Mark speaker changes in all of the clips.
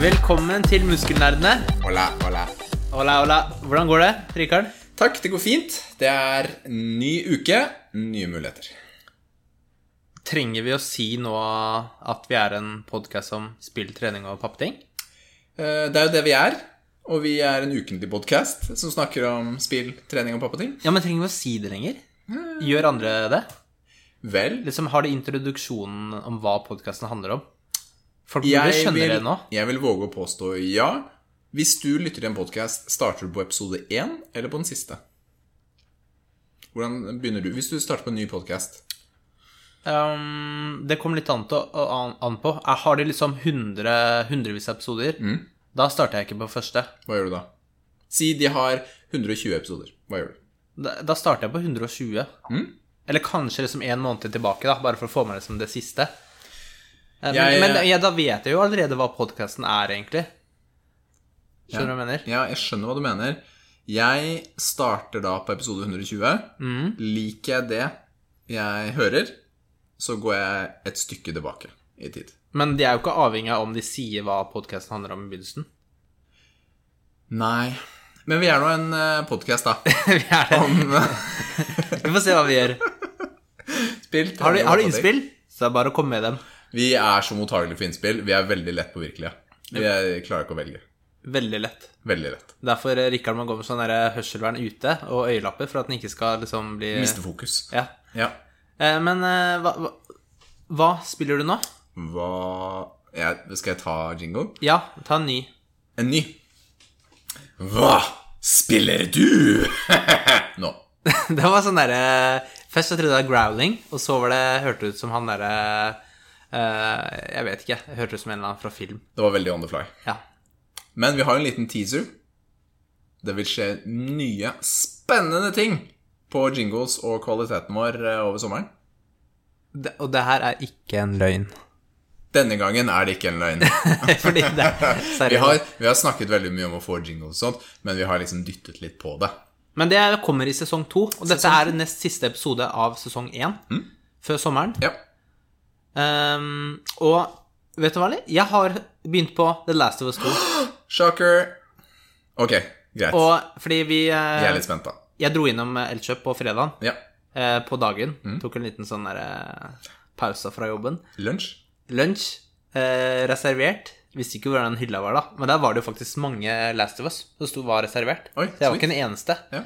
Speaker 1: velkommen til Muskelnerdene.
Speaker 2: Hola, hola.
Speaker 1: Hola, hola. Hvordan går det, Rikard?
Speaker 2: Takk, det går fint. Det er ny uke, nye muligheter.
Speaker 1: Trenger vi å si nå at vi er en podkast om spill, trening og pappeting?
Speaker 2: Eh, Det er jo det vi er, og vi er en ukentlig podkast som snakker om spill, trening og pappating.
Speaker 1: Ja, men trenger vi å si det lenger? Gjør andre det?
Speaker 2: Vel,
Speaker 1: Liksom Har det introduksjonen om hva podkasten handler om? Folk burde
Speaker 2: jeg
Speaker 1: skjønne
Speaker 2: vil,
Speaker 1: det nå.
Speaker 2: jeg vil våge å påstå ja. Hvis du lytter til en podkast, starter du på episode én eller på den siste? Hvordan begynner du? Hvis du starter på en ny podkast
Speaker 1: Um, det kommer litt an, til, å- an, an på. Jeg har de liksom 100, hundrevis av episoder. Da starter jeg ikke på første.
Speaker 2: Hva gjør du da? Si de har 120 episoder. Hva gjør du?
Speaker 1: Da, da starter jeg på 120.
Speaker 2: Mm.
Speaker 1: Eller kanskje liksom en måned tilbake, da, bare for å få med liksom det siste. Eh, Men,
Speaker 2: Jeg-
Speaker 1: men ja, da vet jeg jo allerede hhva podkasten er, egentlig. Skjønner du hva jeg mener?
Speaker 2: Ja, jeg skjønner hva du mener. Jeg starter da på episode 120.
Speaker 1: Mm.
Speaker 2: Liker jeg det jeg hører, så går jeg et stykke tilbake i tid.
Speaker 1: Men de er jo ikke avhengig av om de sier hva podkasten handler om i begynnelsen.
Speaker 2: Nei. Men vi er nå en podkast, da.
Speaker 1: vi, er det.
Speaker 2: Om
Speaker 1: vi
Speaker 2: eh,
Speaker 1: får se hva vi gjør.
Speaker 2: spill.
Speaker 1: Har du, har du innspill, så er det bare å komme med dem.
Speaker 2: Vi er så mottagelige for innspill. Vi er veldig lett påvirkelige. Vi er, klarer ikke å velge.
Speaker 1: Veldig lett.
Speaker 2: Veldig lett.
Speaker 1: Derfor eh, Rikard må gå med sånn der hørselvern ute og øyelapper for at den ikke skal liksom bli
Speaker 2: Miste fokus.
Speaker 1: Ja.
Speaker 2: Ja.
Speaker 1: Eh, Men eh, hva, hva, hva spiller du nå?
Speaker 2: Hva ja, Skal jeg ta jingo?
Speaker 1: Ja, ta en ny.
Speaker 2: En ny. Hva spiller du nå?
Speaker 1: Det var sånn derre Først så trodde jeg det var growling, og så var det hørtes ut som han derre eh, Jeg vet ikke. det Hørtes ut som en eller annen fra film.
Speaker 2: Det var veldig on the fly.
Speaker 1: Ja.
Speaker 2: Men vi har en liten teaser. Det vil skje nye, spennende ting på jingles og kvaliteten vår eh, over sommeren.
Speaker 1: Det, og det her er ikke en løgn.
Speaker 2: Denne gangen er det ikke en løgn.
Speaker 1: Fordi det
Speaker 2: Vi
Speaker 1: Seriøst.
Speaker 2: har, vi har snakket veldig mye om å få jingles og sånt, men vi har liksom dyttet litt på det.
Speaker 1: Men det kommer i sesong to, og dette er nest siste episode av sesong én.
Speaker 2: Mm.
Speaker 1: Før sommeren.
Speaker 2: Ja.
Speaker 1: Ehm, og vet du hva, eller? Jeg har begynt på The Last of Us 2.
Speaker 2: Shocker. Ok, greit.
Speaker 1: Og fordi vi
Speaker 2: Jeg er
Speaker 1: eh,
Speaker 2: litt spent, da.
Speaker 1: Jeg dro innom eh, Elkjøp på fredagen.
Speaker 2: Ja.
Speaker 1: eh, På dagen.
Speaker 2: Mm.
Speaker 1: Tok en liten sånn der eh, pause fra jobben.
Speaker 2: Lunsj?
Speaker 1: Lunsj. Eh, reservert. Visste ikke hvordan den hylla var, da. Men der var det jo faktisk mange Last of Us som sto- var reservert. så
Speaker 2: Oi,
Speaker 1: jeg var
Speaker 2: sweet.
Speaker 1: ikke den eneste.
Speaker 2: Ja.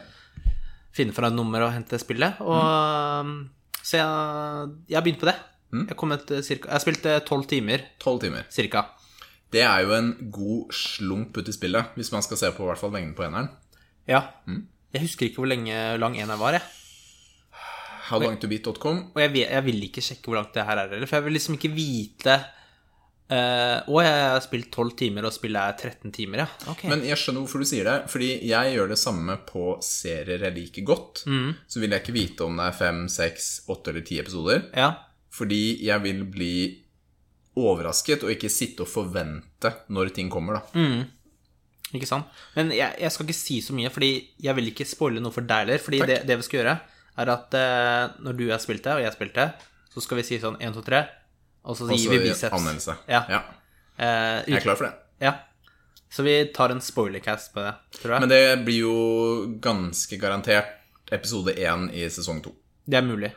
Speaker 1: Finne fra et nummer og hente spillet. Og,
Speaker 2: Mm.
Speaker 1: eh, Så jeg, jeg begynte på det. Jeg, kom et, eh, cirka, jeg spilte tolv timer
Speaker 2: Tolv timer.
Speaker 1: cirka.
Speaker 2: Det er jo en god slump ut i spillet, hvis man skal se på i hvert fall lengden på eneren.
Speaker 1: Ja. Mm.
Speaker 2: Mm.
Speaker 1: Jeg husker ikke hvor lenge lang en jeg var, jeg.
Speaker 2: Howlongtobeat.com.
Speaker 1: Og jeg, vet, jeg vil ikke sjekke hvor langt det her er heller, for jeg vil liksom ikke vite eh, Å, jeg har spilt 12 timer, og spillet er 13 timer, ja. Ok.
Speaker 2: Men jeg skjønner hvorfor du sier det. Fordi jeg gjør det samme på serier jeg liker godt.
Speaker 1: Mm.
Speaker 2: Så vil jeg ikke vite om det er fem, seks, åtte eller ti episoder.
Speaker 1: ja.
Speaker 2: Fordi jeg vil bli overrasket og ikke sitte og forvente når ting kommer, da.
Speaker 1: Mm. Ikke sant? Men jeg, jeg skal ikke si så mye, fordi jeg vil ikke spoile noe for deg heller. Fordi
Speaker 2: Takk.
Speaker 1: det, det vi skal gjøre, er at eh, når du har spilt det, og jeg har spilt det, så skal vi si sånn 1, 2, 3, og så
Speaker 2: Og
Speaker 1: gir
Speaker 2: så
Speaker 1: vi biceps.
Speaker 2: Altså, anmeldelse.
Speaker 1: Ja.
Speaker 2: ja.
Speaker 1: Eh,
Speaker 2: Jeg er
Speaker 1: ut,
Speaker 2: klar for det.
Speaker 1: ja. Så vi tar en spoilercast på det, tror jeg.
Speaker 2: Men det blir jo ganske garantert episode én i sesong to.
Speaker 1: det er mulig.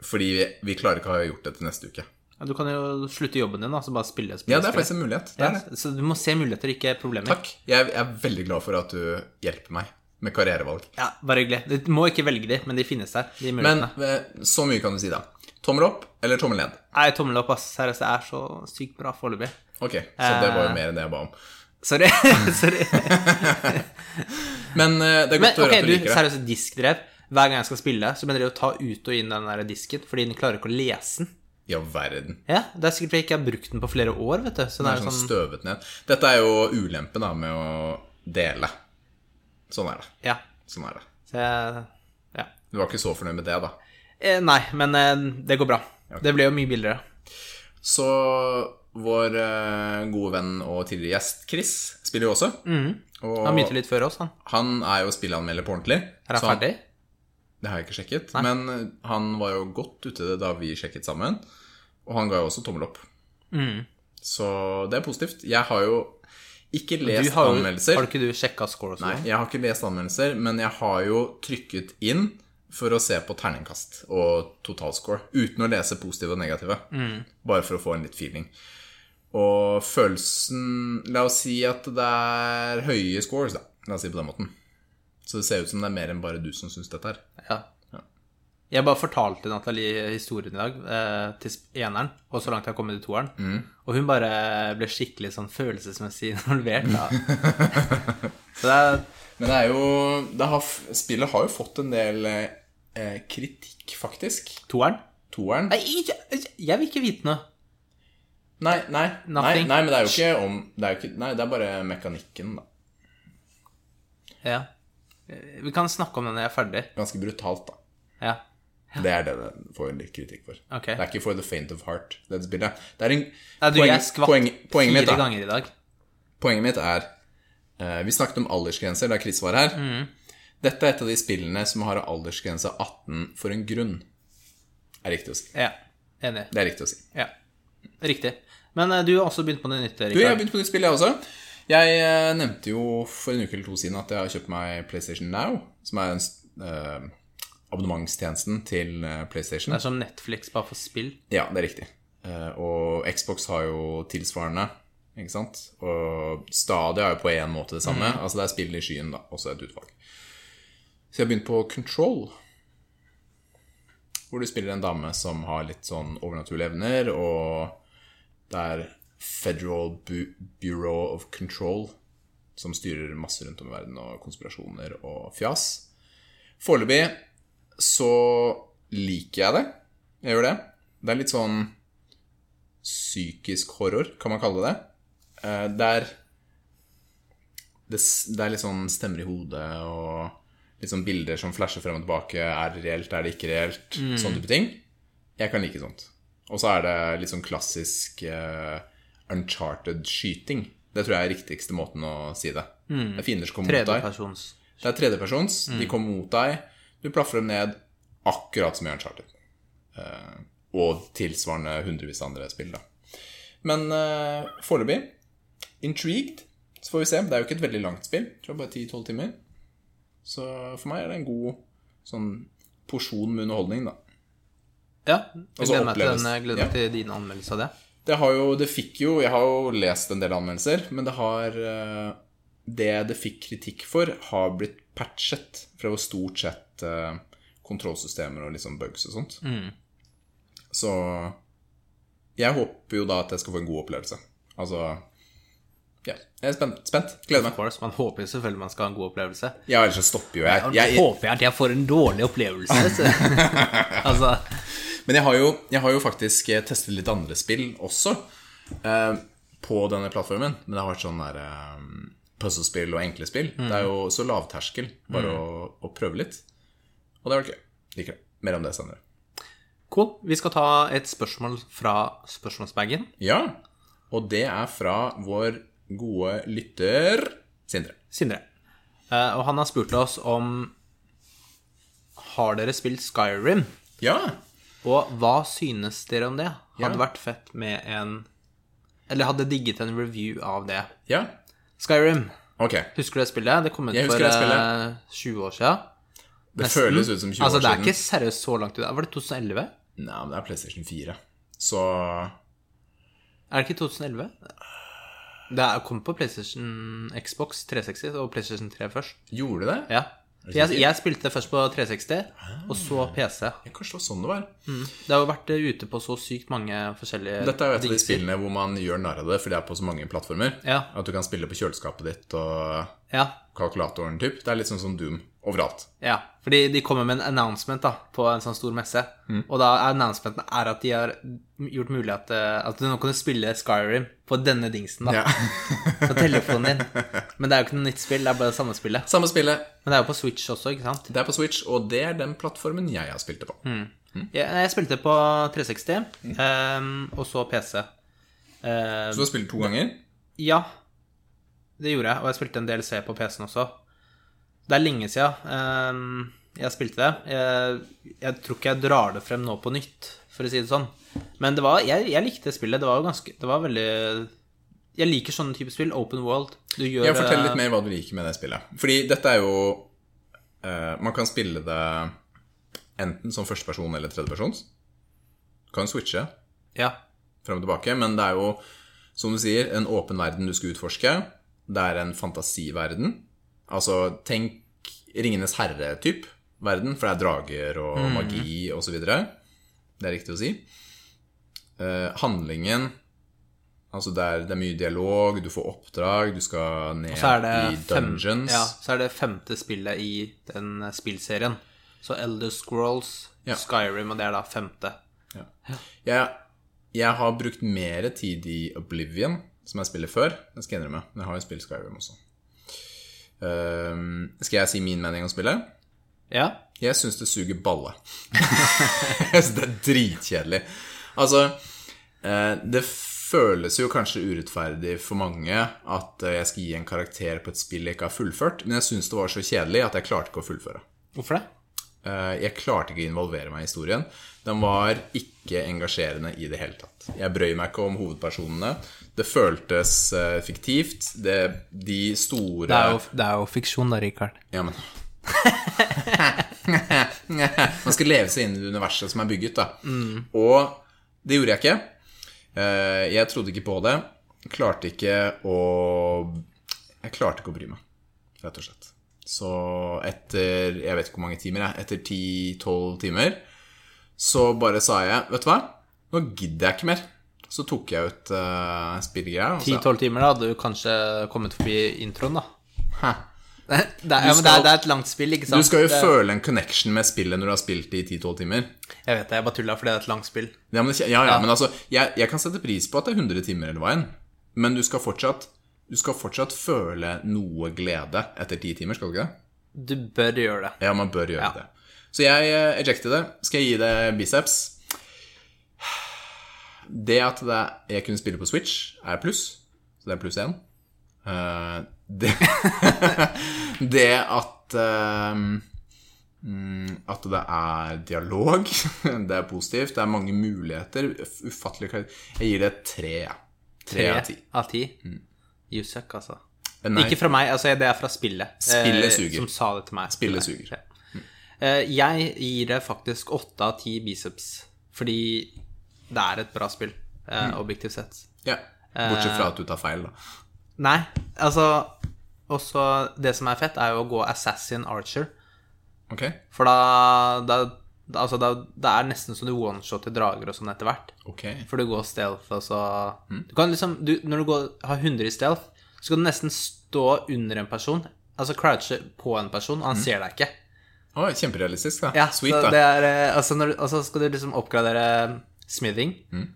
Speaker 2: Fordi vi, vi klarer ikke å ha gjort det til neste uke.
Speaker 1: Ja, Du kan jo slutte jobben din, da, så bare spille. spille
Speaker 2: Ja, det er
Speaker 1: spille.
Speaker 2: faktisk en mulighet. Det
Speaker 1: Ja,
Speaker 2: er det.
Speaker 1: så du må se muligheter, ikke problemer.
Speaker 2: Takk. Jeg er veldig glad for at du hjelper meg med karrierevalg.
Speaker 1: Ja, Bare hyggelig. Du må ikke velge de, men de finnes der. de
Speaker 2: Men
Speaker 1: mulighetene.
Speaker 2: eh, så mye kan du si, da. Tommel opp eller tommel ned?
Speaker 1: Nei, tommel opp, ass. Seriøst, det er så sykt bra foreløpig.
Speaker 2: Ok, så det
Speaker 1: Eh.
Speaker 2: var jo mer enn det jeg ba om.
Speaker 1: Sorry. Sorry.
Speaker 2: Men eh, det er
Speaker 1: Men
Speaker 2: godt å
Speaker 1: ok,
Speaker 2: høre at du
Speaker 1: du,
Speaker 2: liker det.
Speaker 1: seriøst, diskdrev. Hver gang jeg skal spille, så begynner de å ta ut og inn den der disken, fordi den klarer ikke å lese den.
Speaker 2: Ja, verden.
Speaker 1: Ja, Det er sikkert fordi jeg ikke har brukt den på flere år, vet du. Så
Speaker 2: Det
Speaker 1: det
Speaker 2: er
Speaker 1: er
Speaker 2: sånn
Speaker 1: sånn,
Speaker 2: støvet ned. Dette er jo ulempen da med å dele. Sånn er det.
Speaker 1: ja.
Speaker 2: Sånn er det.
Speaker 1: Så jeg, ja.
Speaker 2: Du var ikke så fornøyd med det, da.
Speaker 1: Eh, nei, men eh, det går bra. Det ble jo mye billigere.
Speaker 2: Så vår eh, gode venn og tidligere gjest Chris spiller jo også.
Speaker 1: Mm.
Speaker 2: Og
Speaker 1: Han begynte litt før oss, han.
Speaker 2: han er jo spilleanmelder på ordentlig.
Speaker 1: Er han
Speaker 2: så han-
Speaker 1: ferdig?
Speaker 2: Det har jeg ikke sjekket, men eh, han var jo godt ute det da vi sjekket sammen.
Speaker 1: Mm.
Speaker 2: Og han ga jo også tommel opp. Så det er positivt. Jeg har jo ikke
Speaker 1: Du
Speaker 2: lest
Speaker 1: har, jo-
Speaker 2: anmeldelser.
Speaker 1: har ikke du sjekka score og
Speaker 2: Nei,
Speaker 1: sånn?
Speaker 2: jeg har ikke lest anmeldelser, men jeg har jo trykket inn for å se på terningkast og totalscore, uten å lese positive og negative.
Speaker 1: Mm.
Speaker 2: Bare for å få en litt feeling. Og følelsen La oss si at det er høye scores, da. La oss si det på den måten. Så det ser ut som det er mer enn bare du som syns dette her.
Speaker 1: Ja. Jeg bare fortalte Nathalie historien i dag eh, til sp- eneren, og så langt jeg har kommet til toeren.
Speaker 2: Mm.
Speaker 1: Og hun bare ble skikkelig sånn følelsesmessig involvert. Da. så det er
Speaker 2: Men det er jo det har, Spillet har jo fått en del eh, kritikk, faktisk.
Speaker 1: toeren.
Speaker 2: Toeren
Speaker 1: Nei, jeg, jeg- jeg vil ikke vite noe.
Speaker 2: Nei, nei, nei,
Speaker 1: Nothing.
Speaker 2: nei, men det er jo ikke om det er jo ikke, Nei, det er bare mekanikken, da.
Speaker 1: Ja. Eh, Vi kan snakke om det når jeg er ferdig.
Speaker 2: Ganske brutalt, da.
Speaker 1: Ja.
Speaker 2: Det er det det får litt kritikk for.
Speaker 1: Ok.
Speaker 2: Det er ikke for the faint of heart, dette spillet. Det er en,
Speaker 1: Nei, du,
Speaker 2: poeng-
Speaker 1: jeg skvatt
Speaker 2: poeng, poenget, mitt,
Speaker 1: fire
Speaker 2: da,
Speaker 1: ganger i dag.
Speaker 2: poenget mitt er eh, Vi snakket om aldersgrenser da Chris var her.
Speaker 1: Mm.
Speaker 2: Dette er et av de spillene som har aldersgrense 18 for en grunn. Er riktig å si.
Speaker 1: Ja, Enig.
Speaker 2: Det er riktig å si.
Speaker 1: Ja. Riktig. Men eh, du har også begynt på noe nytt,
Speaker 2: Du, jeg har
Speaker 1: Rikard.
Speaker 2: begynt på nytt spill, jeg også. Jeg eh, nevnte jo for en uke eller to siden at jeg har kjøpt meg PlayStation Now, som er en eh, abonnementstjenesten til eh, PlayStation.
Speaker 1: Det er som Netflix bare for spill.
Speaker 2: Ja, det er riktig. Eh, og Xbox har jo tilsvarende, ikke sant? Og Stadia er jo på en måte det samme. Altså det er spill i skyen, da, også et utvalg. Så jeg har begynt på Control. Hvor du spiller en dame som har litt sånn overnaturlige evner, og det er Federal Bu Bureau of Control som styrer masse rundt om i verden, og konspirasjoner og fjas. Foreløpig så liker jeg det. Jeg gjør det. Det er litt sånn psykisk horror, kan man kalle det. Eh, Det er, det, s- det er litt sånn stemmer i hodet og litt sånn bilder som flasher frem og tilbake. Er det reelt, er det ikke reelt? Sånne type ting. Jeg kan like sånt. Og så er det litt sånn klassisk eh, uncharted skyting. Det tror jeg er riktigste måten å si det. Det er fiender som kommer mot deg.
Speaker 1: Tredjepersons.
Speaker 2: Det er tredjepersons. De kommer mot deg. Du plaffer dem ned akkurat som i Uncharted. Eh, og tilsvarende hundrevis av andre spill, da. Men eh, foreløpig intrigued. Så får vi se. Det er jo ikke et veldig langt spill. Jeg tror bare 10-12 timer. Så for meg er det en god sånn porsjon med underholdning, da.
Speaker 1: Ja. Jeg
Speaker 2: Altså
Speaker 1: gleder meg til,
Speaker 2: oppleves.
Speaker 1: den, jeg gleder meg
Speaker 2: Ja.
Speaker 1: til din anmeldelse av det.
Speaker 2: Det har jo, det fikk jo Jeg har jo lest en del anmeldelser, men det har eh, Det det fikk kritikk for, har blitt patchet fra hvor stort sett eh, kontrollsystemer og liksom bugs og sånt. Så jeg håper jo da at jeg skal få en god opplevelse. Altså Ja, jeg er spent. spent. Gleder
Speaker 1: Of
Speaker 2: meg.
Speaker 1: course, Man håper jo selvfølgelig man skal ha en god opplevelse.
Speaker 2: Ja, ellers så stopper jo jeg.
Speaker 1: Og
Speaker 2: jeg, jeg
Speaker 1: håper jeg at jeg får en dårlig opplevelse. Så. altså,
Speaker 2: Men jeg har, jo, jeg har jo faktisk eh, testet litt andre spill også eh, på denne plattformen. Men det har vært sånn der eh, puzzlespill og enkle spill. Det er
Speaker 1: Mhm.
Speaker 2: jo så lavterskel bare å, å prøve litt. Og det har vært gøy. Liker det. Mer om det senere.
Speaker 1: cool. Vi skal ta et spørsmål fra spørsmålsbagen.
Speaker 2: Ja, og det er fra vår gode lytter Sindre.
Speaker 1: Sindre. Eh, og han har spurt oss om Har dere spilt Skyrim?
Speaker 2: Ja,
Speaker 1: Og hva synes dere om det? Hadde
Speaker 2: Ja.
Speaker 1: vært fett med en Eller hadde digget en review av det.
Speaker 2: ja.
Speaker 1: Skyrim.
Speaker 2: Ok.
Speaker 1: Husker du det spillet? Det kom ut
Speaker 2: Jeg
Speaker 1: for
Speaker 2: husker det
Speaker 1: eh, 20 år siden.
Speaker 2: Det
Speaker 1: Nesten.
Speaker 2: føles ut som 20
Speaker 1: altså,
Speaker 2: år
Speaker 1: Det
Speaker 2: siden.
Speaker 1: er ikke seriøst så langt ut. Var det 2011?
Speaker 2: Nei, men det er PlayStation 4. Så
Speaker 1: Er det ikke 2011? Det er- kom på PlayStation Xbox 360 og PlayStation 3 først.
Speaker 2: gjorde det det? Ah.
Speaker 1: Ja. Jeg, jeg spilte det først på 360, og så PC.
Speaker 2: Ja. Kanskje det var sånn det var.
Speaker 1: Det har jo vært eh, ute på så sykt mange forskjellige
Speaker 2: Dette er jo et av de
Speaker 1: dingser.
Speaker 2: spillene hvor man gjør narr av det, for det er på så mange plattformer.
Speaker 1: Ja.
Speaker 2: At du kan spille på kjøleskapet ditt og
Speaker 1: Ja,
Speaker 2: kalkulatoren, typ. Det er litt sånn som Doom overalt.
Speaker 1: ja. Fordi de kommer med en announcement da på en sånn stor messe.
Speaker 2: Mm.
Speaker 1: Og da er announcementen er at de har gjort mulig at, eh, at du nå kan spille Skyrim på denne dingsen da
Speaker 2: Ja.
Speaker 1: på telefonen din. Men det er jo ikke noe nytt spill, det er bare det samme spillet.
Speaker 2: Samme spillet.
Speaker 1: Men det er jo på Switch også, ikke sant?
Speaker 2: Det er på Switch, og det er den plattformen jeg har spilt det på. Mm.
Speaker 1: Jeg, jeg spilte på 360, eh, og så PC. Eh,
Speaker 2: Så du har spilt to ganger?
Speaker 1: Ja, det gjorde jeg, og jeg spilte en DLC på PC-en også. Det er lenge siden ehm, jeg spilte det. Jeg, jeg tror ikke jeg drar det frem nå på nytt, for å si det sånn. Men det var, jeg, jeg likte spillet. Det var jo ganske Det var veldig Jeg liker sånne type spill. Open world. Du gjør eh,
Speaker 2: Ja, fortell litt mer hva du liker med det spillet. Fordi dette er jo eh, Man kan spille det enten som førsteperson eller tredjepersons. Du kan switche
Speaker 1: Ja.
Speaker 2: frem og tilbake, men det er jo, som du sier, en åpen verden du skal utforske. Det er en fantasiverden. Altså, tenk Ringenes herre-typ-verden, for det er drager og
Speaker 1: Mm.
Speaker 2: magi og så videre. Det er riktig å si. Eh, handlingen Altså, det er, det er mye dialog, du får oppdrag, du skal ned
Speaker 1: Så er det
Speaker 2: i
Speaker 1: Fem,
Speaker 2: dungeons.
Speaker 1: ja, så er det femte spillet i den eh, spillserien. Så Elder Scrolls,
Speaker 2: Ja.
Speaker 1: Skyrim, og det er da femte.
Speaker 2: Jeg, jeg har brukt mer tid i Oblivion, som jeg spiller før. Det skal jeg innrømme. Men jeg har jo spilt Skyrim også. Ehm, skal jeg si min mening om spillet?
Speaker 1: Ja.
Speaker 2: Jeg syns det suger balle. jeg syns det er dritkjedelig. Altså, eh, det føles jo kanskje urettferdig for mange at eh, jeg skal gi en karakter på et spill jeg ikke har fullført, men jeg syns det var så kjedelig at jeg klarte ikke å fullføre.
Speaker 1: Hvorfor det?
Speaker 2: Eh, Jeg klarte ikke å involvere meg i historien. Den var ikke engasjerende i det hele tatt. Jeg brøy meg ikke om hovedpersonene. Det føltes eh, fiktivt. Det, de store
Speaker 1: Det er jo, det er jo fiksjon da, Rikard.
Speaker 2: Ja, men Man skal leve seg inn i det universet som er bygget, da. Og det gjorde jeg ikke. Eh, Jeg trodde ikke på det. Klarte ikke å Jeg klarte ikke å bry meg, rett og slett. Så etter jeg vet ikke hvor mange timer, jeg, etter 10-12 timer, så bare sa jeg Vet du hva, nå gidder jeg ikke mer. Så tok jeg ut uh, spillegreia. og så-
Speaker 1: 10-12 timer da hadde du kanskje kommet forbi introen, da.
Speaker 2: Hæ.
Speaker 1: Det er, ja, men det er, det er et langt spill, ikke sant?
Speaker 2: Du skal jo
Speaker 1: det,
Speaker 2: føle en connection med spillet når du har spilt det i 10-12 timer.
Speaker 1: Jeg vet det, jeg bare tulla fordi det er et langt spill.
Speaker 2: Ja, men, det- ja, ja, men altså, jeg, jeg kan sette pris på at det er 100 timer hele veien, men du skal fortsatt, du skal fortsatt føle noe glede etter 10 timer, skal du ikke det?
Speaker 1: Du bør gjøre det.
Speaker 2: Ja, man bør gjøre
Speaker 1: Ja.
Speaker 2: det. Så jeg eh, ejected det. Skal jeg gi det biceps? Det at det, jeg kunne spille på Switch, er pluss. Så det er pluss én. Eh, det, det at eh, mm, At det er dialog, det er positivt. Det er mange muligheter. Ufattelig kar- Jeg gir det tre, jeg. Tre av ti. Mm. Eh,
Speaker 1: Av ti. You suck, altså.
Speaker 2: Nei,
Speaker 1: Ikke fra meg, altså det er fra spillet.
Speaker 2: Spillet
Speaker 1: eh,
Speaker 2: suger.
Speaker 1: Som sa det til meg.
Speaker 2: Spillet
Speaker 1: Til meg.
Speaker 2: suger.
Speaker 1: Ja. Eh, Jeg gir det faktisk åtte av ti biceps, fordi det er et bra spill, eh,
Speaker 2: Mm.
Speaker 1: objektivt sett.
Speaker 2: ja. Bortsett
Speaker 1: Eh.
Speaker 2: fra at du tar feil, da.
Speaker 1: Nei, altså Også det som er fett, er jo å gå Assassin Archer.
Speaker 2: Ok?
Speaker 1: For da, da da- Altså, da, det er nesten så du one-shotter drager og sånn etter hvert.
Speaker 2: Ok.
Speaker 1: For du går stealth, og så
Speaker 2: Mm.
Speaker 1: Du kan liksom du, Når du går, har 100 i stealth, så kan du nesten stå under en person. Altså crouche på en person, og han ser deg ikke.
Speaker 2: Oi, kjemperealistisk, da.
Speaker 1: Ja,
Speaker 2: Mm. Sweet,
Speaker 1: så
Speaker 2: da.
Speaker 1: det er, eh, altså når, du- Og så skal du liksom oppgradere smithing.
Speaker 2: Mm.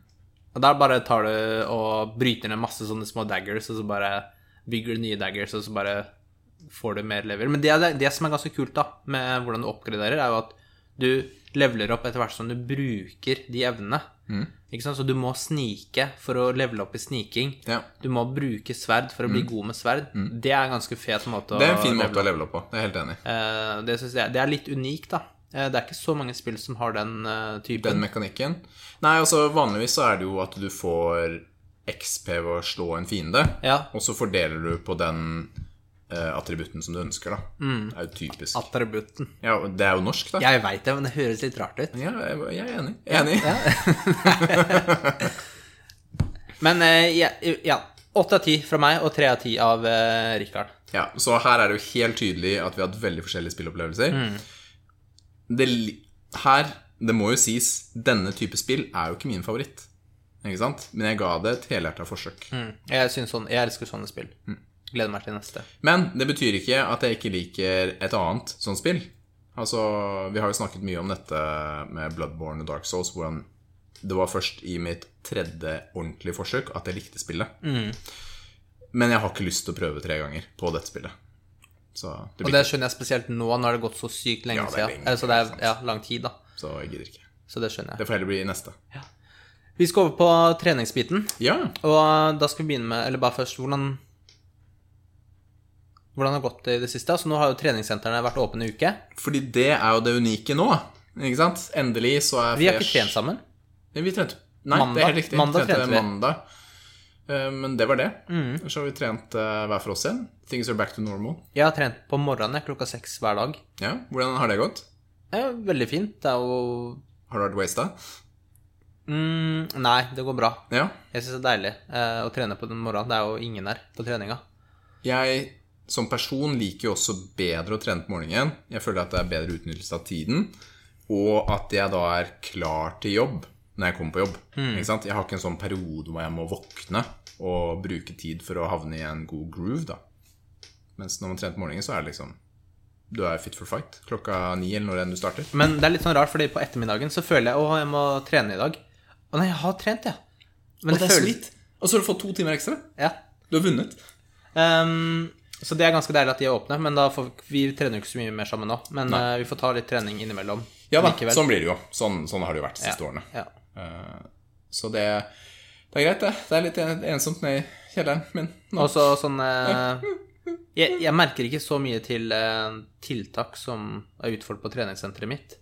Speaker 1: Og der bare tar du og bryter ned masse sånne små daggers, og så bare bygger du nye daggers, og så bare får du mer level. Men det, er det, det som er ganske kult da med hvordan du oppgraderer, er jo at du leveler opp etter hvert som du bruker de evnene. Ikke sant? Så du må snike for å levele opp i sniking.
Speaker 2: Ja.
Speaker 1: Du må bruke sverd for å bli god med sverd. Det er en ganske fet måte å
Speaker 2: Mm. Det er en fin
Speaker 1: levele
Speaker 2: måte å levele opp på. Det er jeg helt enig. i.
Speaker 1: Eh, Det synes jeg Det er litt unikt, da. Eh, Det er ikke så mange spill som har den eh,
Speaker 2: Den
Speaker 1: typen.
Speaker 2: mekanikken. Nei, altså vanligvis så er det jo at du får XP ved å slå en fiende,
Speaker 1: Ja.
Speaker 2: og så fordeler du på den eh, attributten som du ønsker, da. Det er jo typisk.
Speaker 1: Attributten.
Speaker 2: Ja, og det er jo norsk, da.
Speaker 1: Jeg veit det, men det høres litt rart ut.
Speaker 2: Ja, jeg, jeg er enig. Jeg er enig.
Speaker 1: Men eh, ja, ja. 8 av 10 fra meg, og 3 av 10 av eh, Rikard.
Speaker 2: Ja, så her er det jo helt tydelig at vi har hatt veldig forskjellige spillopplevelser. Det, li- her, det må jo sies, denne type spill er jo ikke min favoritt. Ikke sant? Men jeg ga det et helhjerta forsøk.
Speaker 1: Jeg, synes sånn, jeg elsker sånne spill. Gleder meg til neste.
Speaker 2: Men Mm. det betyr ikke at jeg ikke liker et annet sånt spill. Altså, Vi har jo snakket mye om dette med Bloodborne og Dark Souls. Hvordan det var først i mitt tredje ordentlige forsøk at jeg likte spillet.
Speaker 1: Mm.
Speaker 2: Men jeg har ikke lyst til å prøve tre ganger på dette spillet. Så,
Speaker 1: Og
Speaker 2: det blir,
Speaker 1: det skjønner jeg spesielt nå, nå har det gått så sykt lenge
Speaker 2: Ja, det er
Speaker 1: siden.
Speaker 2: lenge,
Speaker 1: Eh, Så det er
Speaker 2: sant.
Speaker 1: ja, lang tid, da.
Speaker 2: ikke- så jeg gidder ikke.
Speaker 1: Så det skjønner jeg.
Speaker 2: Det får heller bli neste.
Speaker 1: Vi skal over på treningsbiten.
Speaker 2: Ja,
Speaker 1: Og eh, da skal vi begynne med Eller bare først, hvordan Hvordan har det gått i det siste? Altså, nå har jo treningssentrene vært åpne i uke.
Speaker 2: fordi det er jo det unike nå. Ikke sant? Endelig så er
Speaker 1: Vi har ikke trent sammen.
Speaker 2: Nei, Vi trente Nei, det
Speaker 1: Mandag-
Speaker 2: er helt riktig.
Speaker 1: mandag
Speaker 2: trente
Speaker 1: trente vi. Mm.
Speaker 2: mandag. Eh, Men det var det. Så har vi trent eh, hver for oss igjen. Things are back to normal.
Speaker 1: Jeg har trent på morgenen jeg, klokka seks hver dag.
Speaker 2: Ja, Hvordan har det gått?
Speaker 1: Det er jo veldig fint. Det er jo
Speaker 2: Har du vært wasta?
Speaker 1: mm, Nei, det går bra.
Speaker 2: Ja.
Speaker 1: Jeg syns det er deilig eh, å trene på den morgenen. Det er jo ingen der på treninga.
Speaker 2: Jeg som person liker jo også bedre å trene på morgenen. Jeg føler at det er bedre utnyttelse av tiden. Og at jeg da er klar til jobb når jeg kommer på jobb. Ikke sant? Jeg har ikke en sånn periode hvor jeg må våkne og bruke tid for å havne i en god groove. da Mens når man trener på morgenen, så er det liksom Du er fit for fight klokka ni eller når enn du starter.
Speaker 1: Men det er litt sånn rart, fordi på ettermiddagen så føler jeg å, jeg må trene i dag. Å nei, jeg har trent, ja. Men
Speaker 2: Og det er så vidt. Og så har du fått to timer ekstra.
Speaker 1: Ja.
Speaker 2: Du har vunnet.
Speaker 1: Ehm, så det er ganske deilig at de er åpne, men da får, vi trener jo ikke så mye mer sammen nå. Men eh, vi får ta litt trening innimellom.
Speaker 2: Ja da,
Speaker 1: likevel.
Speaker 2: sånn blir det jo. Sånn, sånn har det jo vært de siste årene.
Speaker 1: Ja.
Speaker 2: Så det, det er greit, det. Det er litt en- ensomt nede i kjelleren min nå.
Speaker 1: Og så sånn eh, jeg, jeg merker ikke så mye til eh, tiltak som er utført på treningssenteret mitt.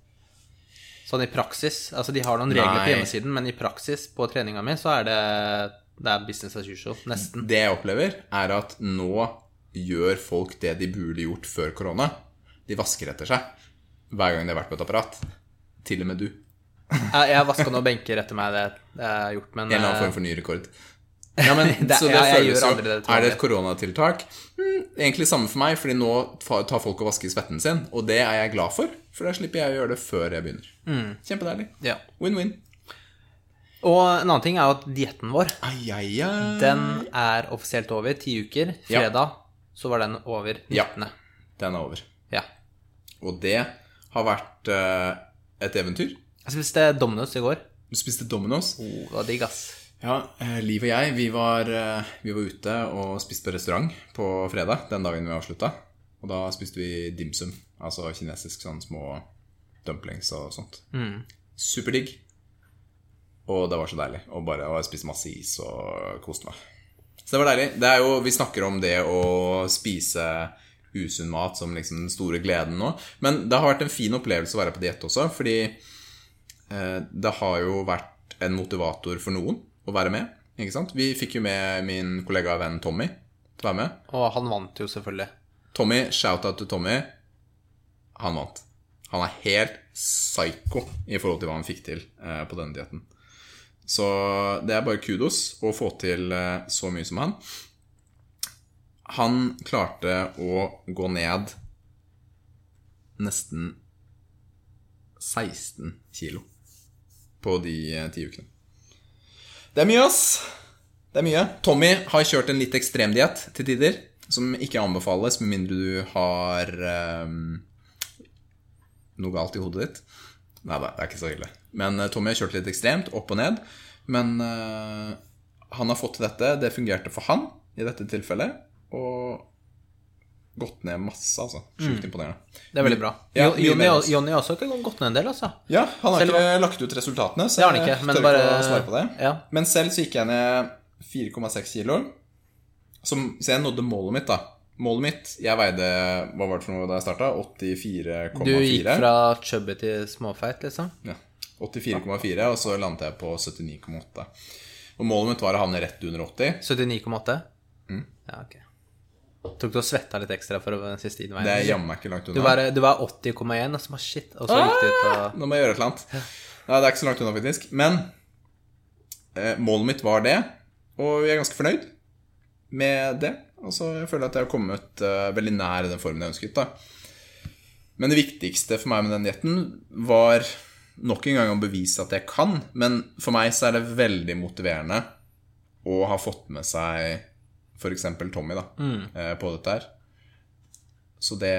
Speaker 1: Sånn i praksis. Altså, de har noen regler
Speaker 2: Nei.
Speaker 1: på hjemmesiden, men i praksis på treninga mi så er det, det er business as usual. Nesten.
Speaker 2: Det jeg opplever, er at nå gjør folk det de burde gjort før korona. De vasker etter seg hver gang de har vært på et apparat. Til og med du.
Speaker 1: Jeg, jeg vaska noen benker etter meg, det, det er gjort, men
Speaker 2: En eller annen
Speaker 1: eh,
Speaker 2: form for ny rekord. Ja, men,
Speaker 1: Det-
Speaker 2: så det
Speaker 1: ja, jeg
Speaker 2: føles
Speaker 1: gjør
Speaker 2: jo
Speaker 1: aldri det, tror jeg.
Speaker 2: Er det et koronatiltak? Mm, egentlig samme for meg, Fordi nå fa- tar folk og vasker svetten sin. Og det er jeg glad for, for da slipper jeg å gjøre det før jeg begynner. Kjempedeilig.
Speaker 1: ja.
Speaker 2: Win-win.
Speaker 1: Og en annen ting er jo at dietten vår,
Speaker 2: Ai, ai, ai.
Speaker 1: den er offisielt over. Ti uker.
Speaker 2: Ja.
Speaker 1: Fredag så var den over. 19.
Speaker 2: Ja. Den er over.
Speaker 1: ja.
Speaker 2: Og det har vært eh, et eventyr.
Speaker 1: Jeg spiste Domino's i går.
Speaker 2: Du spiste Domino's.
Speaker 1: Oh, det var digg, ass.
Speaker 2: Ja, eh, Liv og jeg, vi var, eh, vi var ute og spiste på restaurant på fredag, den dagen vi avslutta. Og da spiste vi dimsum, altså kinesisk sånn små dumplings og sånt.
Speaker 1: Mm.
Speaker 2: Superdigg. Og det var så deilig. Og bare og jeg spiste masse is og koste meg. Så det var deilig. Det er jo, vi snakker om det å spise usunn mat som liksom den store gleden nå. Men det har vært en fin opplevelse å være på diett også, fordi eh, det har jo vært en motivator for noen å være med. Ikke sant? Vi fikk jo med min kollega og venn Tommy til å være med.
Speaker 1: Og han vant jo, selvfølgelig.
Speaker 2: Tommy, shout-out til Tommy. Han vant. Han er helt psycho i forhold til hva han fikk til eh, på denne dietten. Så det er bare kudos å få til eh, så mye som han. Han klarte å gå ned nesten 16 kilo på de eh, ti ukene. Det er mye, ass. Det er mye. Tommy har kjørt en litt ekstrem diett til tider, som ikke anbefales med mindre du har ehm, noe galt i hodet ditt. Nei da, det er ikke så ille. Men eh, Tommy har kjørt litt ekstremt, opp og ned. Men eh, han har fått til dette. Det fungerte for han i dette tilfellet. Og gått ned masse, altså. Sjukt imponerende.
Speaker 1: Mm. Det er veldig bra.
Speaker 2: Ja,
Speaker 1: Jo-
Speaker 2: mye
Speaker 1: Jonny
Speaker 2: mer, ass.
Speaker 1: Jonny har også ikke gått ned en del, altså.
Speaker 2: Ja, han har
Speaker 1: Selv
Speaker 2: ikke lagt ut resultatene, så
Speaker 1: Det har han ikke, men
Speaker 2: tør
Speaker 1: bare
Speaker 2: ikke å svare på det.
Speaker 1: Ja.
Speaker 2: Men selv så gikk jeg ned 4,6 kilo. Som, så jeg nådde målet mitt, da. Målet mitt Jeg veide hva var det for noe da jeg starta?
Speaker 1: Du gikk
Speaker 2: 84,4.
Speaker 1: fra chubby til småfeit, liksom?
Speaker 2: Ja, 84,4, og så landet jeg på 79,8. Og målet mitt var å havne rett under 80.
Speaker 1: 79,8?
Speaker 2: Mm.
Speaker 1: Ja, ok. Tok du og svetta litt ekstra for den siste innveien?
Speaker 2: Det er jammen meg ikke
Speaker 1: Du
Speaker 2: langt unna.
Speaker 1: var, du var 80,1, og så bare shit, og så gikk det ut og
Speaker 2: Nå må jeg gjøre et eller annet. Nei, det er ikke så langt unna, faktisk. Men eh, målet mitt var det, og jeg er ganske fornøyd med det. Altså, jeg føler at jeg har kommet eh, veldig nær den formen jeg ønsket. da. Men det viktigste for meg med den dietten var nok en gang å bevise at jeg kan. Men for meg så er det veldig motiverende å ha fått med seg f.eks. Tommy da,
Speaker 1: Mm.
Speaker 2: eh, på dette her. Så det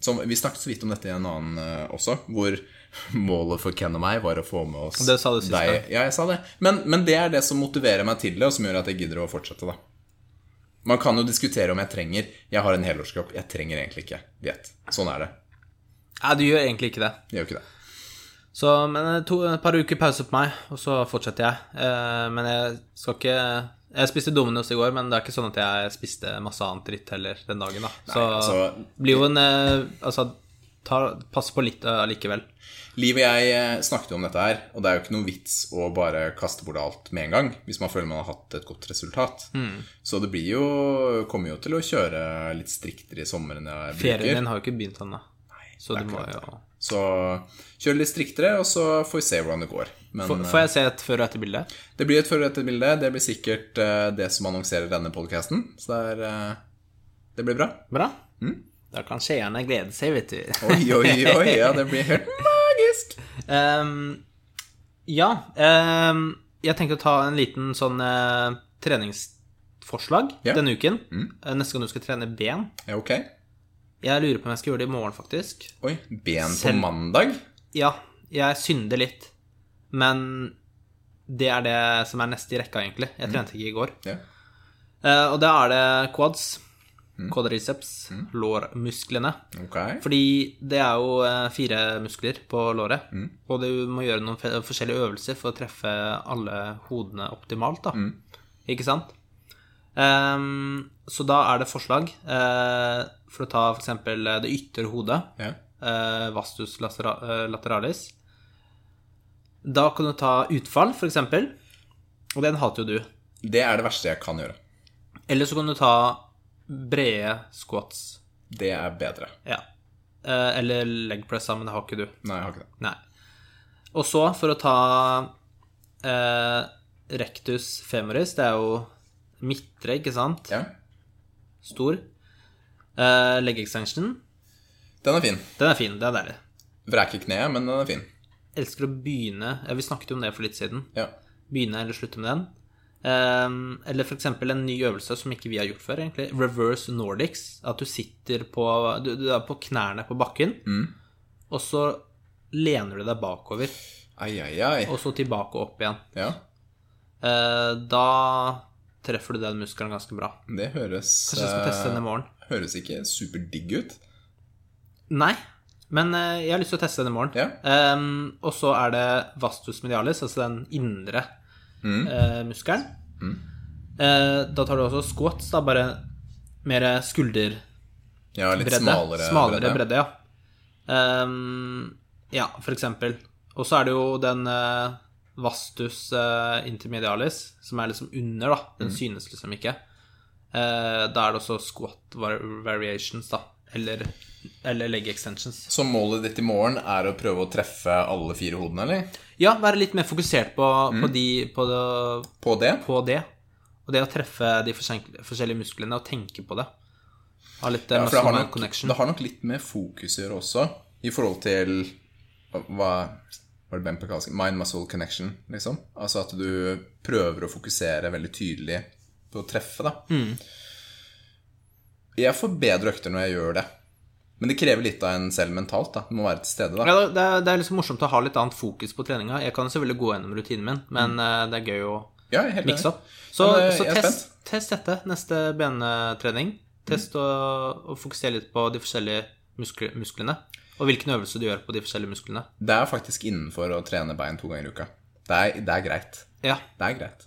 Speaker 2: som, vi snakket så vidt om dette i en annen eh, også, hvor målet for Ken og meg var å få med oss
Speaker 1: Det sa du sist gang.
Speaker 2: Ja, jeg sa det. Men, men det er det som motiverer meg til det, og som gjør at jeg gidder å fortsette, da. Man kan jo diskutere om jeg trenger Jeg har en helårskropp. Jeg trenger egentlig ikke diett. Sånn er det.
Speaker 1: Nei, du gjør egentlig ikke det.
Speaker 2: Jeg gjør ikke det.
Speaker 1: Så, men eh, to, et par uker pause på meg, og så fortsetter jeg. Eh, men jeg skal ikke Jeg spiste Domino's i går, men det er ikke sånn at jeg spiste masse annet dritt heller den dagen, da. Så
Speaker 2: altså-
Speaker 1: det blir jo en eh, Altså, ta, pass på litt eh, allikevel.
Speaker 2: Liv og jeg eh, snakket jo om dette her, og det er jo ikke noe vits å bare kaste bort alt med en gang hvis man føler man har hatt et godt resultat.
Speaker 1: Mm.
Speaker 2: Så det blir jo Kommer jo til å kjøre litt striktere i sommer enn jeg
Speaker 1: Ferien din
Speaker 2: bruker.
Speaker 1: har jo ikke begynt ennå. Så du
Speaker 2: det er
Speaker 1: må
Speaker 2: akkurat
Speaker 1: jo
Speaker 2: Så kjør litt striktere, og så får vi se hvordan det går. Men
Speaker 1: Får får jeg se et før- og etterbilde?
Speaker 2: eh, det blir et før- og etterbilde. Det blir sikkert eh, det som annonserer denne podkasten. Så det, er, eh, det blir bra.
Speaker 1: Bra. Da kan seerne glede seg, vet du.
Speaker 2: Oi, oi, oi. Ja, det blir helt magisk.
Speaker 1: Ehm, ja. ehm, jeg tenkte å ta en liten sånn eh, treningsforslag
Speaker 2: Ja.
Speaker 1: denne uken. Eh, Neste gang du skal trene ben.
Speaker 2: Ja, ok.
Speaker 1: Jeg lurer på om jeg skal gjøre det i morgen, faktisk.
Speaker 2: Oi. Ben på
Speaker 1: Selv-
Speaker 2: mandag?
Speaker 1: Ja, jeg synder litt. Men det er det som er neste i rekka, egentlig. Jeg trente ikke i går.
Speaker 2: Ja.
Speaker 1: Eh, og da er det quads. Quadriceps. Lårmusklene.
Speaker 2: Ok.
Speaker 1: Fordi det er jo eh, fire muskler på låret, og du må gjøre noen fe- forskjellige øvelser for å treffe alle hodene optimalt, da. Ikke sant? Ehm, så da er det forslag eh, for å ta f.eks. det ytre hodet,
Speaker 2: Ja.
Speaker 1: eh, vastus lacera- eh, lateralis. Da kan du ta utfall, f.eks., og den hater jo du.
Speaker 2: Det er det verste jeg kan gjøre.
Speaker 1: Eller så kan du ta brede squats.
Speaker 2: Det er bedre.
Speaker 1: Ja. Eh, eller leg press, da, men det har ikke du.
Speaker 2: Nei, jeg har ikke det.
Speaker 1: Nei. Og så, for å ta eh, rectus femoris, det er jo midtre, ikke sant?
Speaker 2: Ja.
Speaker 1: Stor. Eh, leg extension,
Speaker 2: Den er fin.
Speaker 1: den er fin, det er deilig.
Speaker 2: Vreker kneet, men den er fin.
Speaker 1: Elsker å begynne, ja, vi snakket jo om det for litt siden,
Speaker 2: Ja.
Speaker 1: begynne eller slutte med den. Eh, eller for eksempel en ny øvelse som ikke vi har gjort før, egentlig, reverse nordics, at du sitter på, du, du er på knærne på bakken,
Speaker 2: Mm.
Speaker 1: og så lener du deg bakover,
Speaker 2: Ai, ai, ai.
Speaker 1: og så tilbake og opp igjen.
Speaker 2: Ja.
Speaker 1: Eh, Da treffer du den muskelen ganske bra.
Speaker 2: Det høres
Speaker 1: Kanskje jeg skal teste den i morgen?
Speaker 2: eh, Høres ikke superdigg ut.
Speaker 1: Nei, men eh, jeg har lyst til å teste den i morgen.
Speaker 2: Ja.
Speaker 1: Ehm, og så er det vastus medialis, altså den indre eh, muskelen. Eh, da tar du også squats, da bare mer skulderbredde.
Speaker 2: Ja, litt smalere,
Speaker 1: Smalere bredde, ja. Ehm, ja, for eksempel. Og så er det jo den eh, vastus eh, intermedialis, som er liksom under, da.
Speaker 2: Mm.
Speaker 1: Den synes liksom ikke. Eh, da er det også squat var variations, da. Eller, eller leg extensions.
Speaker 2: Så målet ditt i morgen er å prøve å treffe alle fire hodene, eller?
Speaker 1: Ja, være litt mer fokusert på, på,
Speaker 2: Mm.
Speaker 1: de, på, det-
Speaker 2: På det?
Speaker 1: på det. Og det å treffe de forskjell- forskjellige musklene og tenke på det. Ha litt ja,
Speaker 2: Ja, for det har,
Speaker 1: muscle
Speaker 2: nok,
Speaker 1: connection.
Speaker 2: det har nok litt med fokus å gjøre også, i forhold til hva var det Ben Pekal sa? Mind muscle connection, liksom. Altså at du prøver å fokusere veldig tydelig på å treffe, da.
Speaker 1: Mm.
Speaker 2: Jeg får bedre økter når jeg gjør det. Men det krever litt av en selv mentalt, da. Du må være til stede, da.
Speaker 1: Ja, det, er- det er liksom morsomt å ha litt annet fokus på treninga. Jeg kan selvfølgelig gå gjennom rutinen min, men eh, det er gøy å
Speaker 2: Mm. Ja, jeg er helt
Speaker 1: mikse
Speaker 2: enig.
Speaker 1: opp. Så,
Speaker 2: Men, eh,
Speaker 1: så
Speaker 2: jeg er
Speaker 1: test, test dette neste benetrening. Test
Speaker 2: Mm.
Speaker 1: å, å fokusere litt på de forskjellige muskle- musklene. Og hvilken øvelse du gjør på de forskjellige musklene.
Speaker 2: Det er faktisk innenfor å trene bein to ganger i uka. Det er, det er greit.
Speaker 1: Ja,
Speaker 2: Det er greit.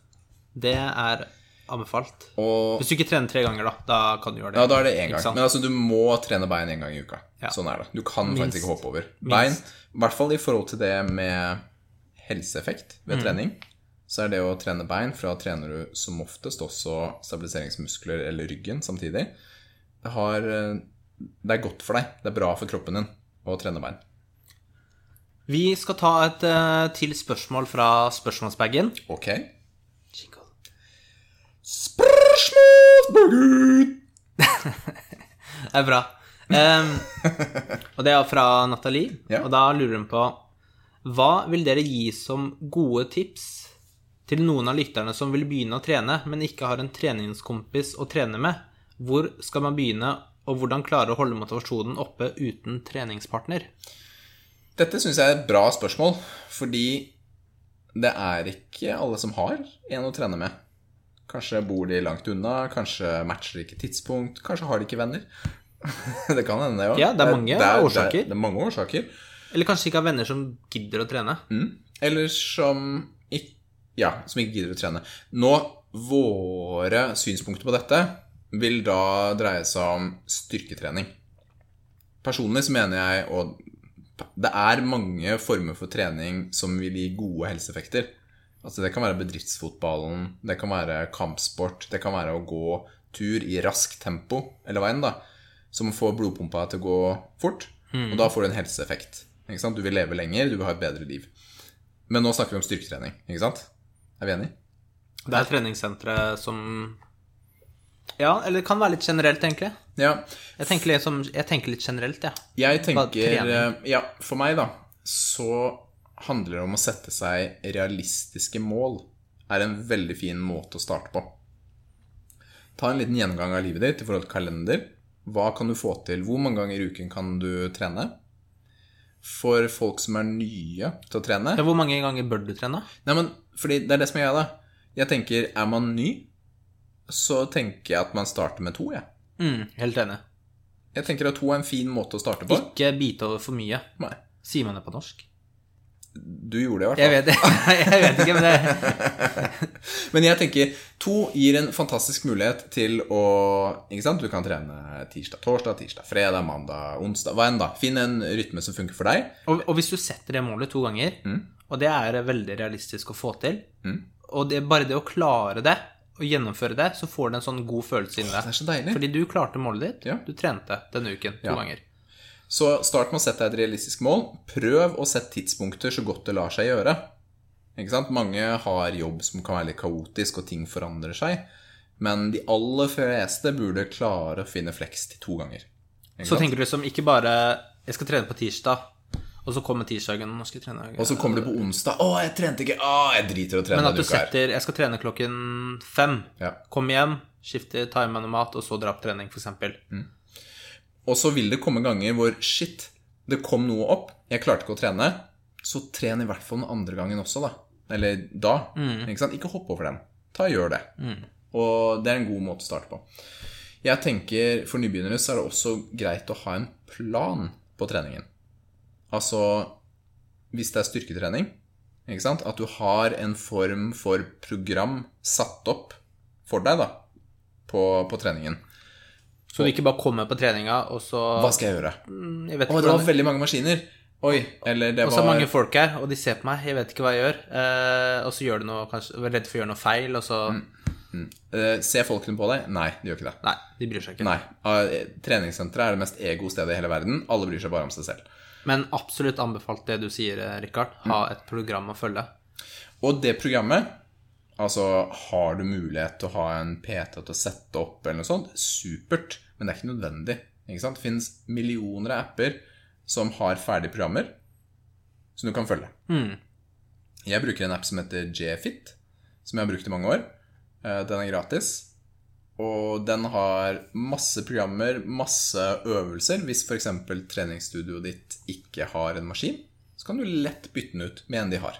Speaker 1: det er anbefalt.
Speaker 2: Og
Speaker 1: Hvis du ikke trener tre ganger, da, da kan du gjøre det.
Speaker 2: Ja, da er det én
Speaker 1: Ikke
Speaker 2: gang.
Speaker 1: sant?
Speaker 2: Men altså, du må trene bein én gang i uka.
Speaker 1: Ja.
Speaker 2: Sånn er det. Du kan
Speaker 1: Minst.
Speaker 2: faktisk ikke hoppe over. Bein,
Speaker 1: Minst.
Speaker 2: i hvert fall i forhold til det med helseeffekt ved
Speaker 1: Mm.
Speaker 2: trening, så er det å trene bein Fra trener du som oftest også stabiliseringsmuskler eller ryggen samtidig. Det, har, eh, det er godt for deg. Det er bra for kroppen din å trene bein.
Speaker 1: Vi skal ta et eh, til spørsmål fra spørsmålsbagen.
Speaker 2: Ok? Spørsmålsbugger!
Speaker 1: Det er bra. Em, og det er fra Nathalie,
Speaker 2: Ja.
Speaker 1: og da lurer hun på Hva vil dere gi som gode tips til noen av lytterne som vil begynne å trene, men ikke har en treningskompis å trene med? Hvor skal man begynne, og hvordan klare å holde motivasjonen oppe uten treningspartner?
Speaker 2: Dette syns jeg er et bra spørsmål, fordi det er ikke alle som har en å trene med. Kanskje bor de langt unna, kanskje matcher de ikke tidspunkt, kanskje har de ikke venner. Det kan hende, det òg.
Speaker 1: Ja, det er mange årsaker.
Speaker 2: Det er, det er mange årsaker.
Speaker 1: Eller kanskje ikke har venner som gidder å trene?
Speaker 2: Mm. Eller som ikke, ja, som ikke gidder å trene. Nå, våre synspunkter på dette vil da dreie seg om styrketrening. Personlig så mener jeg og det er mange former for trening som vil gi gode helseeffekter. Altså Det kan være bedriftsfotballen, det kan være kampsport, det kan være å gå tur i raskt tempo hele veien, da, som får blodpumpa til å gå fort. Og da får du en helseeffekt. Ikke sant? Du vil leve lenger, du vil ha et bedre liv. Men nå snakker vi om styrketrening, ikke sant? Er vi enige?
Speaker 1: Det er treningssentre som Ja, eller det kan være litt generelt, egentlig.
Speaker 2: Ja.
Speaker 1: Jeg tenker litt, som, jeg tenker litt generelt, jeg. Ja.
Speaker 2: Jeg tenker eh,
Speaker 1: trening.
Speaker 2: Ja, for meg, da, så handler det om å sette seg realistiske mål. Er en veldig fin måte å starte på. Ta en liten gjennomgang av livet ditt i forhold til kalender. Hva kan du få til? Hvor mange ganger i uken kan du trene? For folk som er nye til å trene
Speaker 1: Ja, Hvor mange ganger bør du trene?
Speaker 2: Nei, men fordi det er det som er greia, da. Jeg tenker, er man ny, så tenker jeg at man starter med to, jeg.
Speaker 1: Mm, helt enig.
Speaker 2: Jeg tenker at to er en fin måte å starte på.
Speaker 1: Ikke bite over for mye.
Speaker 2: Nei.
Speaker 1: Sier man det på norsk?
Speaker 2: Du gjorde det i hvert fall.
Speaker 1: Jeg vet, jeg vet ikke, men det
Speaker 2: Men jeg tenker to gir en fantastisk mulighet til å Ikke sant? Du kan trene tirsdag, torsdag, tirsdag, fredag, mandag, onsdag Hva enn da. Finn en rytme som funker for deg. Mm.
Speaker 1: og, og hvis du setter det målet to ganger, og det er veldig realistisk å få til, og det er bare det å klare det, og gjennomføre det, så får du en sånn god følelse inni
Speaker 2: Det
Speaker 1: deg.
Speaker 2: er så deilig.
Speaker 1: Fordi du klarte målet ditt.
Speaker 2: Ja.
Speaker 1: Du trente denne uken to
Speaker 2: Ja.
Speaker 1: ganger.
Speaker 2: Så start med å sette deg et realistisk mål. Prøv å sette tidspunkter så godt det lar seg gjøre. Ikke sant? Mange har jobb som kan være litt kaotisk, og ting forandrer seg. Men de aller fleste burde klare å finne flex til to ganger. Ikke
Speaker 1: Så
Speaker 2: sant?
Speaker 1: tenker du liksom ikke bare Jeg skal trene på tirsdag, og så kommer tirsdagen Nå skal jeg trene
Speaker 2: Og så kommer du på onsdag. 'Å, jeg trente ikke.' 'Å, jeg driter i å trene
Speaker 1: Men at du
Speaker 2: denne uka her.'
Speaker 1: setter Jeg skal trene klokken fem.
Speaker 2: Ja.
Speaker 1: Kom hjem, skifte time og mat, og så dra på trening, f.eks.
Speaker 2: Og så vil det komme ganger hvor shit, det kom noe opp, jeg klarte ikke å trene. Så tren i hvert fall den andre gangen også, da. Eller da. Ikke sant? Ikke hopp over den. Ta og gjør det. Og det er en god måte å starte på. Jeg tenker For nybegynnere så er det også greit å ha en plan på treningen. Altså hvis det er styrketrening, ikke sant? at du har en form for program satt opp for deg da, på, på treningen.
Speaker 1: Så du ikke bare kommer på treninga, og så Mm,
Speaker 2: Hva skal jeg gjøre?
Speaker 1: Jeg vet ikke
Speaker 2: Å, det var
Speaker 1: hvordan
Speaker 2: veldig mange maskiner. Oi, eller det
Speaker 1: Og så
Speaker 2: var
Speaker 1: er mange folk her, og de ser på meg, jeg vet ikke hva jeg gjør. Eh, og så gjør du noe, kanskje, er redd for å gjøre noe feil, og så
Speaker 2: Mm. Eh, Ser folkene på deg? Nei, de gjør ikke det.
Speaker 1: Nei, de bryr seg ikke.
Speaker 2: Nei. Eh, Treningssenteret er det mest ego stedet i hele verden. Alle bryr seg bare om seg selv.
Speaker 1: Men absolutt anbefalt det du sier, eh, Rikard.
Speaker 2: Mm.
Speaker 1: Ha et program å følge.
Speaker 2: Og det programmet Altså, har du mulighet til å ha en PT til å sette opp eller noe sånt? Supert. Men det er ikke nødvendig. Ikke sant? Det finnes millioner av apper som har ferdige programmer som du kan følge.
Speaker 1: Mm,
Speaker 2: Jeg bruker en app som heter JFit, som jeg har brukt i mange år. Eh, Den er gratis. Og den har masse programmer, masse øvelser. Hvis f.eks. treningsstudioet ditt ikke har en maskin, så kan du lett bytte den ut med en de har.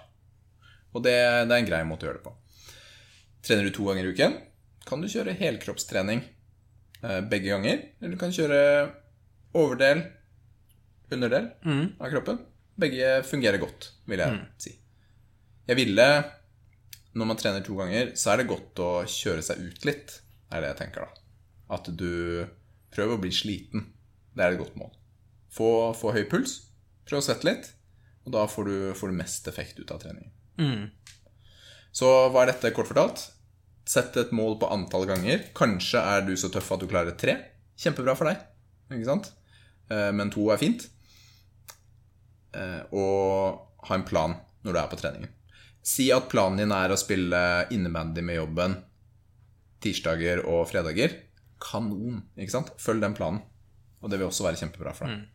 Speaker 2: Og det, det er en grei måte å gjøre det på. Trener du to ganger i uken, kan du kjøre helkroppstrening eh, begge ganger. Eller du kan kjøre overdel, underdel
Speaker 1: mm,
Speaker 2: av kroppen. Begge fungerer godt, vil jeg si. Jeg ville Når man trener to ganger, så er det godt å kjøre seg ut litt, er det jeg tenker, da. At du prøver å bli sliten. Det er et godt mål. Få, få høy puls, prøv å svette litt, og da får du, får du mest effekt ut av treningen.
Speaker 1: mm.
Speaker 2: Så hva er dette kort fortalt? Sett et mål på antall ganger. Kanskje er du så tøff at du klarer tre. Kjempebra for deg, ikke sant? Eh, Men to er fint. Eh, Og ha en plan når du er på treningen. Si at planen din er å spille innebandy med jobben tirsdager og fredager. Kanon, ikke sant? Følg den planen. Og det vil også være kjempebra for deg.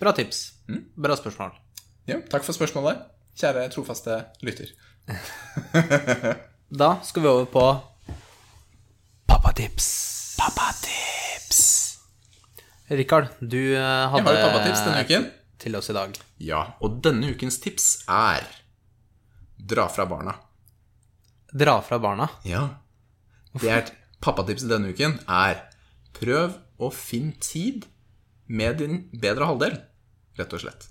Speaker 1: Bra tips.
Speaker 2: Mm.
Speaker 1: Bra spørsmål.
Speaker 2: Ja, takk for spørsmålet, kjære trofaste lytter.
Speaker 1: Da skal vi over på pappatips. Pappatips. Rikard, du eh, hadde
Speaker 2: Jeg har et pappatips
Speaker 1: Eh,
Speaker 2: denne uken.
Speaker 1: til oss i dag.
Speaker 2: Ja, og denne ukens tips er Dra fra barna.
Speaker 1: Dra fra barna.
Speaker 2: Ja. Det er pappatipset denne uken er prøv å finne tid med din bedre halvdel, rett og slett.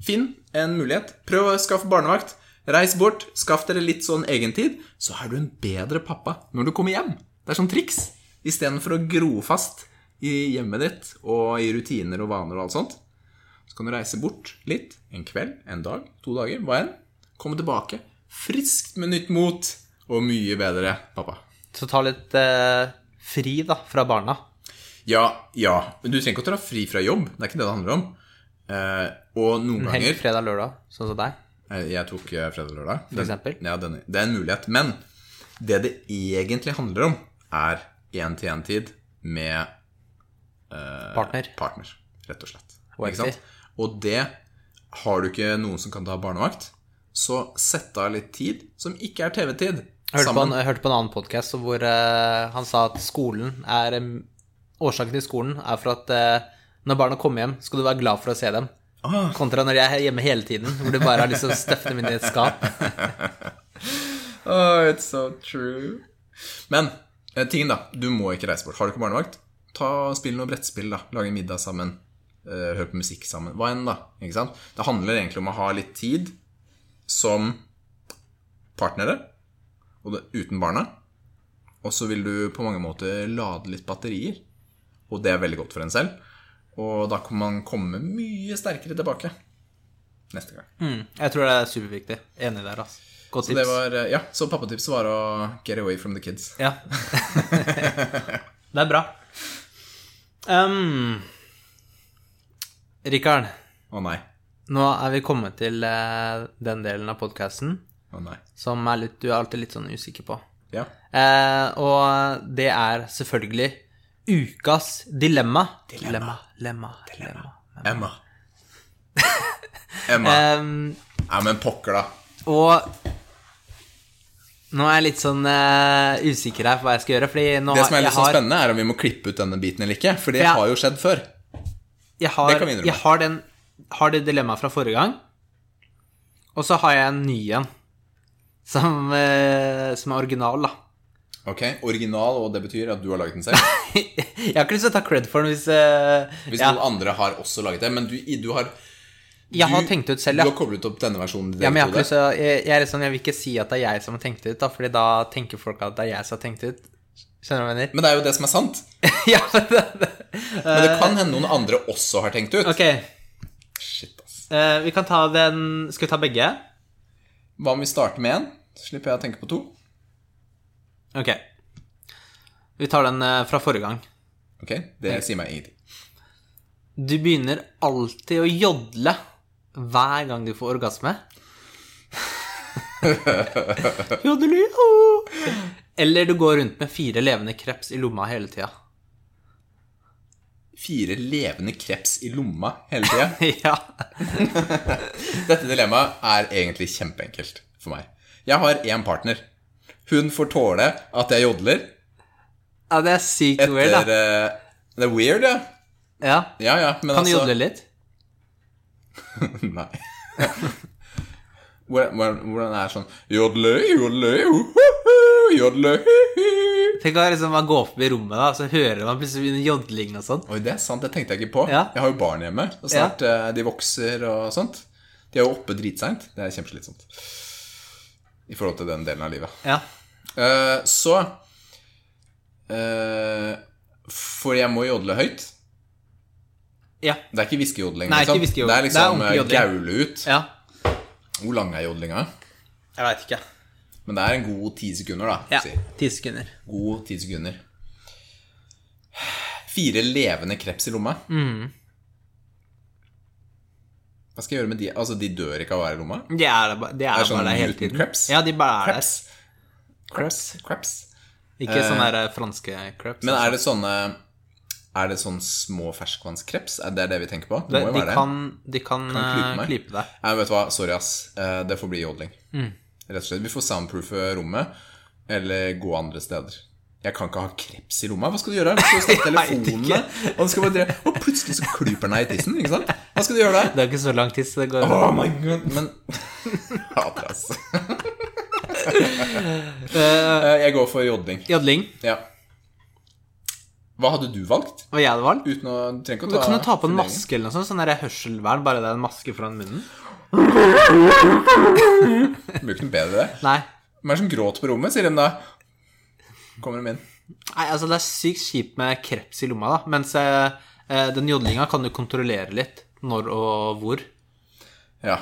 Speaker 2: Finn en mulighet. Prøv å skaffe barnevakt. Reis bort, skaff dere litt sånn egentid, så er du en bedre pappa når du kommer hjem. Det er sånn triks. Istedenfor å gro fast i hjemmet ditt og i rutiner og vaner og alt sånt. Så kan du reise bort litt en kveld, en dag, to dager, hva enn. Komme tilbake friskt med nytt mot og mye bedre, pappa.
Speaker 1: Så ta litt eh, fri, da, fra barna.
Speaker 2: Ja, ja. Men du trenger ikke å ta fri fra jobb. Det er ikke det det handler om. Eh, og noen
Speaker 1: Helg,
Speaker 2: ganger
Speaker 1: fredag, lørdag, sånn som deg.
Speaker 2: Eh, Jeg tok eh, fredag og lørdag. Den-
Speaker 1: eksempel?
Speaker 2: Ja, den, det er en mulighet. Men det det egentlig handler om, er én-til-én-tid med
Speaker 1: Partner.
Speaker 2: partner, rett og slett.
Speaker 1: Og
Speaker 2: Ikke sant? Og det har du ikke noen som kan ta barnevakt, så sett av litt tid som ikke er TV-tid.
Speaker 1: Jeg hørte, på en,
Speaker 2: Sammen.
Speaker 1: jeg hørte på en annen podkast hvor eh, han sa at skolen er em, Årsaken til skolen er for at eh, når barna kommer hjem, skal du være glad for å se dem.
Speaker 2: Ah.
Speaker 1: Kontra når jeg er hjemme hele tiden, hvor du bare har lyst til å støffe dem inn i et skap.
Speaker 2: Oh, it's so true. Men eh, tingen, da. Du må ikke reise bort. Har du ikke barnevakt, ta spill noe brettspill, da. Lage middag sammen. eh, Hør på musikk sammen. Hva enn, da. Ikke sant? Det handler egentlig om å ha litt tid som partnere, og det, uten barna. Og så vil du på mange måter lade litt batterier. Og det er veldig godt for en selv. Og da kan man komme mye sterkere tilbake neste gang.
Speaker 1: Mm, jeg tror det er superviktig. Enig der, altså. Godt
Speaker 2: Så det
Speaker 1: tips.
Speaker 2: var, eh, ja, så pappatipset var å get away from the kids.
Speaker 1: Ja. det er bra. Um, Rikard,
Speaker 2: Å nei.
Speaker 1: nå er vi kommet til eh, den delen av podkasten
Speaker 2: Å nei.
Speaker 1: som er litt, du er alltid litt sånn usikker på.
Speaker 2: Ja.
Speaker 1: Eh, og det er selvfølgelig ukas dilemma. Dilemma. Lemma. Dilemma.
Speaker 2: Emma. Emma.
Speaker 1: Eh. Em,
Speaker 2: Ja, men pokker, da.
Speaker 1: og nå er jeg litt sånn eh, usikker her på hva jeg skal gjøre, fordi nå
Speaker 2: Det som er
Speaker 1: jeg
Speaker 2: litt sånn
Speaker 1: har-
Speaker 2: spennende, er om vi må klippe ut denne biten eller ikke. For det
Speaker 1: Ja.
Speaker 2: har jo skjedd før.
Speaker 1: jeg har,
Speaker 2: Det kan vi innrømme.
Speaker 1: Jeg har, den, har det dilemmaet fra forrige gang, og så har jeg en ny en, som, eh, som er original, da.
Speaker 2: Ok, Original, og det betyr at du har laget den selv.
Speaker 1: jeg har ikke lyst til å ta cred for den hvis, eh,
Speaker 2: Hvis
Speaker 1: ja,
Speaker 2: noen andre har også laget det. Men du, i- du har
Speaker 1: Jeg har
Speaker 2: du-
Speaker 1: tenkt ut selv, ja.
Speaker 2: Du har koblet opp denne versjonen.
Speaker 1: Ja, men jeg, har ikke lyst til å, jeg, jeg, er litt sånn, jeg vil ikke si at det er jeg som har tenkt det ut, da, Fordi da tenker folk at det er jeg som har tenkt det ut. Skjønner du hva jeg mener?
Speaker 2: men det er jo det som er sant.
Speaker 1: ja, men det, det.
Speaker 2: Men det kan hende noen andre også har tenkt ut.
Speaker 1: Eh. Ok,
Speaker 2: Shit, ass.
Speaker 1: eh, vi kan ta den Skal vi ta begge?
Speaker 2: Hva om vi starter med én? Så slipper jeg å tenke på to.
Speaker 1: Ok. Vi tar den eh, fra forrige gang.
Speaker 2: Ok, Det sier meg ingenting.
Speaker 1: Du begynner alltid å jodle hver gang du får orgasme. Jodelu! Eller du går rundt med fire levende kreps i lomma hele tida.
Speaker 2: Fire levende kreps i lomma hele tida.
Speaker 1: ja.
Speaker 2: Dette dilemmaet er egentlig kjempeenkelt for meg. Jeg har én partner. Hun får tåle at jeg jodler.
Speaker 1: ja, det er sykt
Speaker 2: Etter,
Speaker 1: weird, da.
Speaker 2: eh, Det er weird, ja.
Speaker 1: Ja.
Speaker 2: Ja, ja, men
Speaker 1: Kan du
Speaker 2: altså
Speaker 1: jodle litt?
Speaker 2: Nei. hvordan, hvordan hvordan er det sånn Jodle, jodle, uhuhu, jodle, hihi.
Speaker 1: Tenk å liksom bare gå forbi rommet, da, så hører man plutselig begynner jodling og sånn.
Speaker 2: Oi, det er sant. Det tenkte jeg ikke på.
Speaker 1: Ja.
Speaker 2: Jeg har jo barn hjemme, og snart eh, de vokser og sånt. De er jo oppe dritseint. Det er kjempeslitsomt. I forhold til den delen av livet.
Speaker 1: Ja.
Speaker 2: Eh, så eh, For jeg må jodle høyt.
Speaker 1: Ja.
Speaker 2: Det er ikke hviskejodling.
Speaker 1: Nei,
Speaker 2: liksom.
Speaker 1: ikke hviskejodling.
Speaker 2: Det er liksom
Speaker 1: Det er ordentlig
Speaker 2: eh, gaule ut.
Speaker 1: ja.
Speaker 2: Hvor lang er jodlinga?
Speaker 1: Jeg veit ikke.
Speaker 2: Men det er en god ti sekunder, da.
Speaker 1: Ja.
Speaker 2: si.
Speaker 1: Ti sekunder.
Speaker 2: God ti sekunder. Fire levende kreps i lomma.
Speaker 1: Mm.
Speaker 2: Hva skal jeg gjøre med de? Altså, de dør ikke av å være i lomma?
Speaker 1: Det er, det ba- det er,
Speaker 2: Det er sånn
Speaker 1: bare der hele
Speaker 2: Newton
Speaker 1: tiden.
Speaker 2: Krebs.
Speaker 1: Ja, de bare er
Speaker 2: Kreps. Kreps. Kreps.
Speaker 1: der. Ikke sånne der eh, franske kreps.
Speaker 2: Men er det sånne Er det sånn små ferskvannskreps? Er det det vi tenker på? Det,
Speaker 1: de,
Speaker 2: må jo
Speaker 1: de
Speaker 2: være det.
Speaker 1: kan, de kan,
Speaker 2: klype
Speaker 1: eh,
Speaker 2: meg.
Speaker 1: klype deg.
Speaker 2: Nei, vet du hva, sorry ass Eh, Det får bli jodling
Speaker 1: Mm.
Speaker 2: Rett og slett, vi får soundproofe rommet Eller gå andre steder Jeg kan ikke ha kreps i rommet Hva skal du gjøre? Du skal stette
Speaker 1: Jeg vet
Speaker 2: telefonene og, du skal bare dreie- og plutselig så klyper den deg i tissen Ikke sant? Hva skal du gjøre der?
Speaker 1: Det er ikke så lang tid, så det går
Speaker 2: Oh my god Men Hater ass
Speaker 1: Eh,
Speaker 2: Eh, Jeg går for jodling
Speaker 1: Jodling.
Speaker 2: Ja Hva hadde du valgt?
Speaker 1: Hva jeg hadde valgt?
Speaker 2: Uten å du trenger ikke å
Speaker 1: Du
Speaker 2: ta
Speaker 1: kan jo ta på en maske eller noe sånt. Sånn der hørselvern, bare det er en maske foran munnen.
Speaker 2: Det blir ikke noe bedre det
Speaker 1: Nei.
Speaker 2: Hvem er det som gråter på rommet? Sier de da Kommer de inn
Speaker 1: Nei, altså det er sykt kjipt med kreps i lomma, da. Mens eh, eh, den jodlinga kan du kontrollere litt. Når og hvor.
Speaker 2: Ja.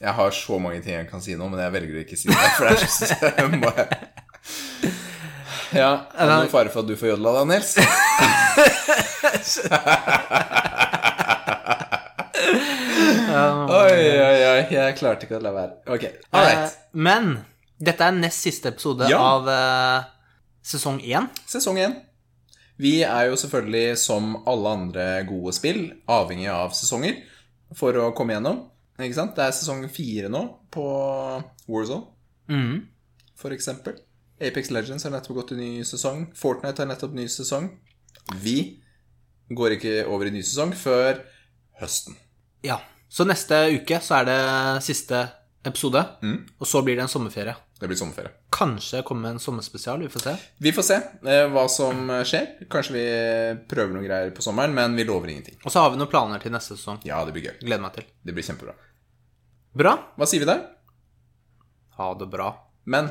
Speaker 2: Jeg har så mange ting jeg kan si nå, men jeg velger å ikke si det. For det er så så må jeg Ja. Er det noen fare for at du får jodla da, Nils? oi, oi, oi. Jeg klarte ikke å la være. Ok. All right.
Speaker 1: Eh, men dette er nest siste episode
Speaker 2: Ja.
Speaker 1: av eh, sesong én.
Speaker 2: Sesong én. Vi er jo selvfølgelig, som alle andre gode spill, avhengig av sesonger for å komme gjennom. Ikke sant? Det er sesong fire nå på Warzone. Mm.
Speaker 1: Mhm.
Speaker 2: for eksempel. Apex Legends har nettopp gått i ny sesong. Fortnite har nettopp ny sesong. Vi går ikke over i ny sesong før høsten.
Speaker 1: Ja. Så neste uke så er det siste episode,
Speaker 2: Mm.
Speaker 1: og så blir det en sommerferie.
Speaker 2: Det blir sommerferie.
Speaker 1: Kanskje komme en sommerspesial, vi får se.
Speaker 2: Vi får se eh, hva som skjer. Kanskje vi eh, prøver noen greier på sommeren, men vi lover ingenting.
Speaker 1: Og så har vi noen planer til neste sesong.
Speaker 2: Ja, det blir gøy.
Speaker 1: Gleder meg til.
Speaker 2: Det blir kjempebra.
Speaker 1: Bra.
Speaker 2: Hva sier vi der?
Speaker 1: Ha det bra.
Speaker 2: Men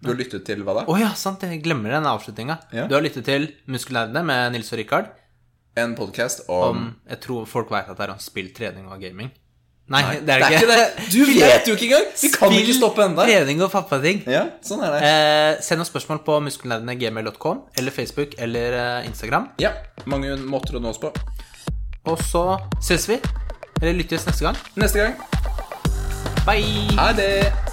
Speaker 2: du har lyttet til hva da?
Speaker 1: Å ja, sant, jeg glemmer den avslutninga.
Speaker 2: Ja.
Speaker 1: Du har lyttet til Muskelnerdene med Nils og Rikard.
Speaker 2: En podkast om
Speaker 1: Om, jeg tror folk vet at det er om spill, trening og gaming. Nei, det
Speaker 2: Det
Speaker 1: er det
Speaker 2: er
Speaker 1: ikke.
Speaker 2: ikke det! Du vet jo ikke engang! Vi kan
Speaker 1: Spill,
Speaker 2: ikke stoppe ennå.
Speaker 1: Trening og pappating.
Speaker 2: Ja, sånn er det.
Speaker 1: Eh, send oss spørsmål på muskelnerdene.gmail.com eller Facebook eller eh, Instagram.
Speaker 2: Ja. Mange måter å nå oss på.
Speaker 1: Og så ses vi. Eller lyttes neste gang.
Speaker 2: Neste gang.
Speaker 1: Bye!
Speaker 2: Ha det!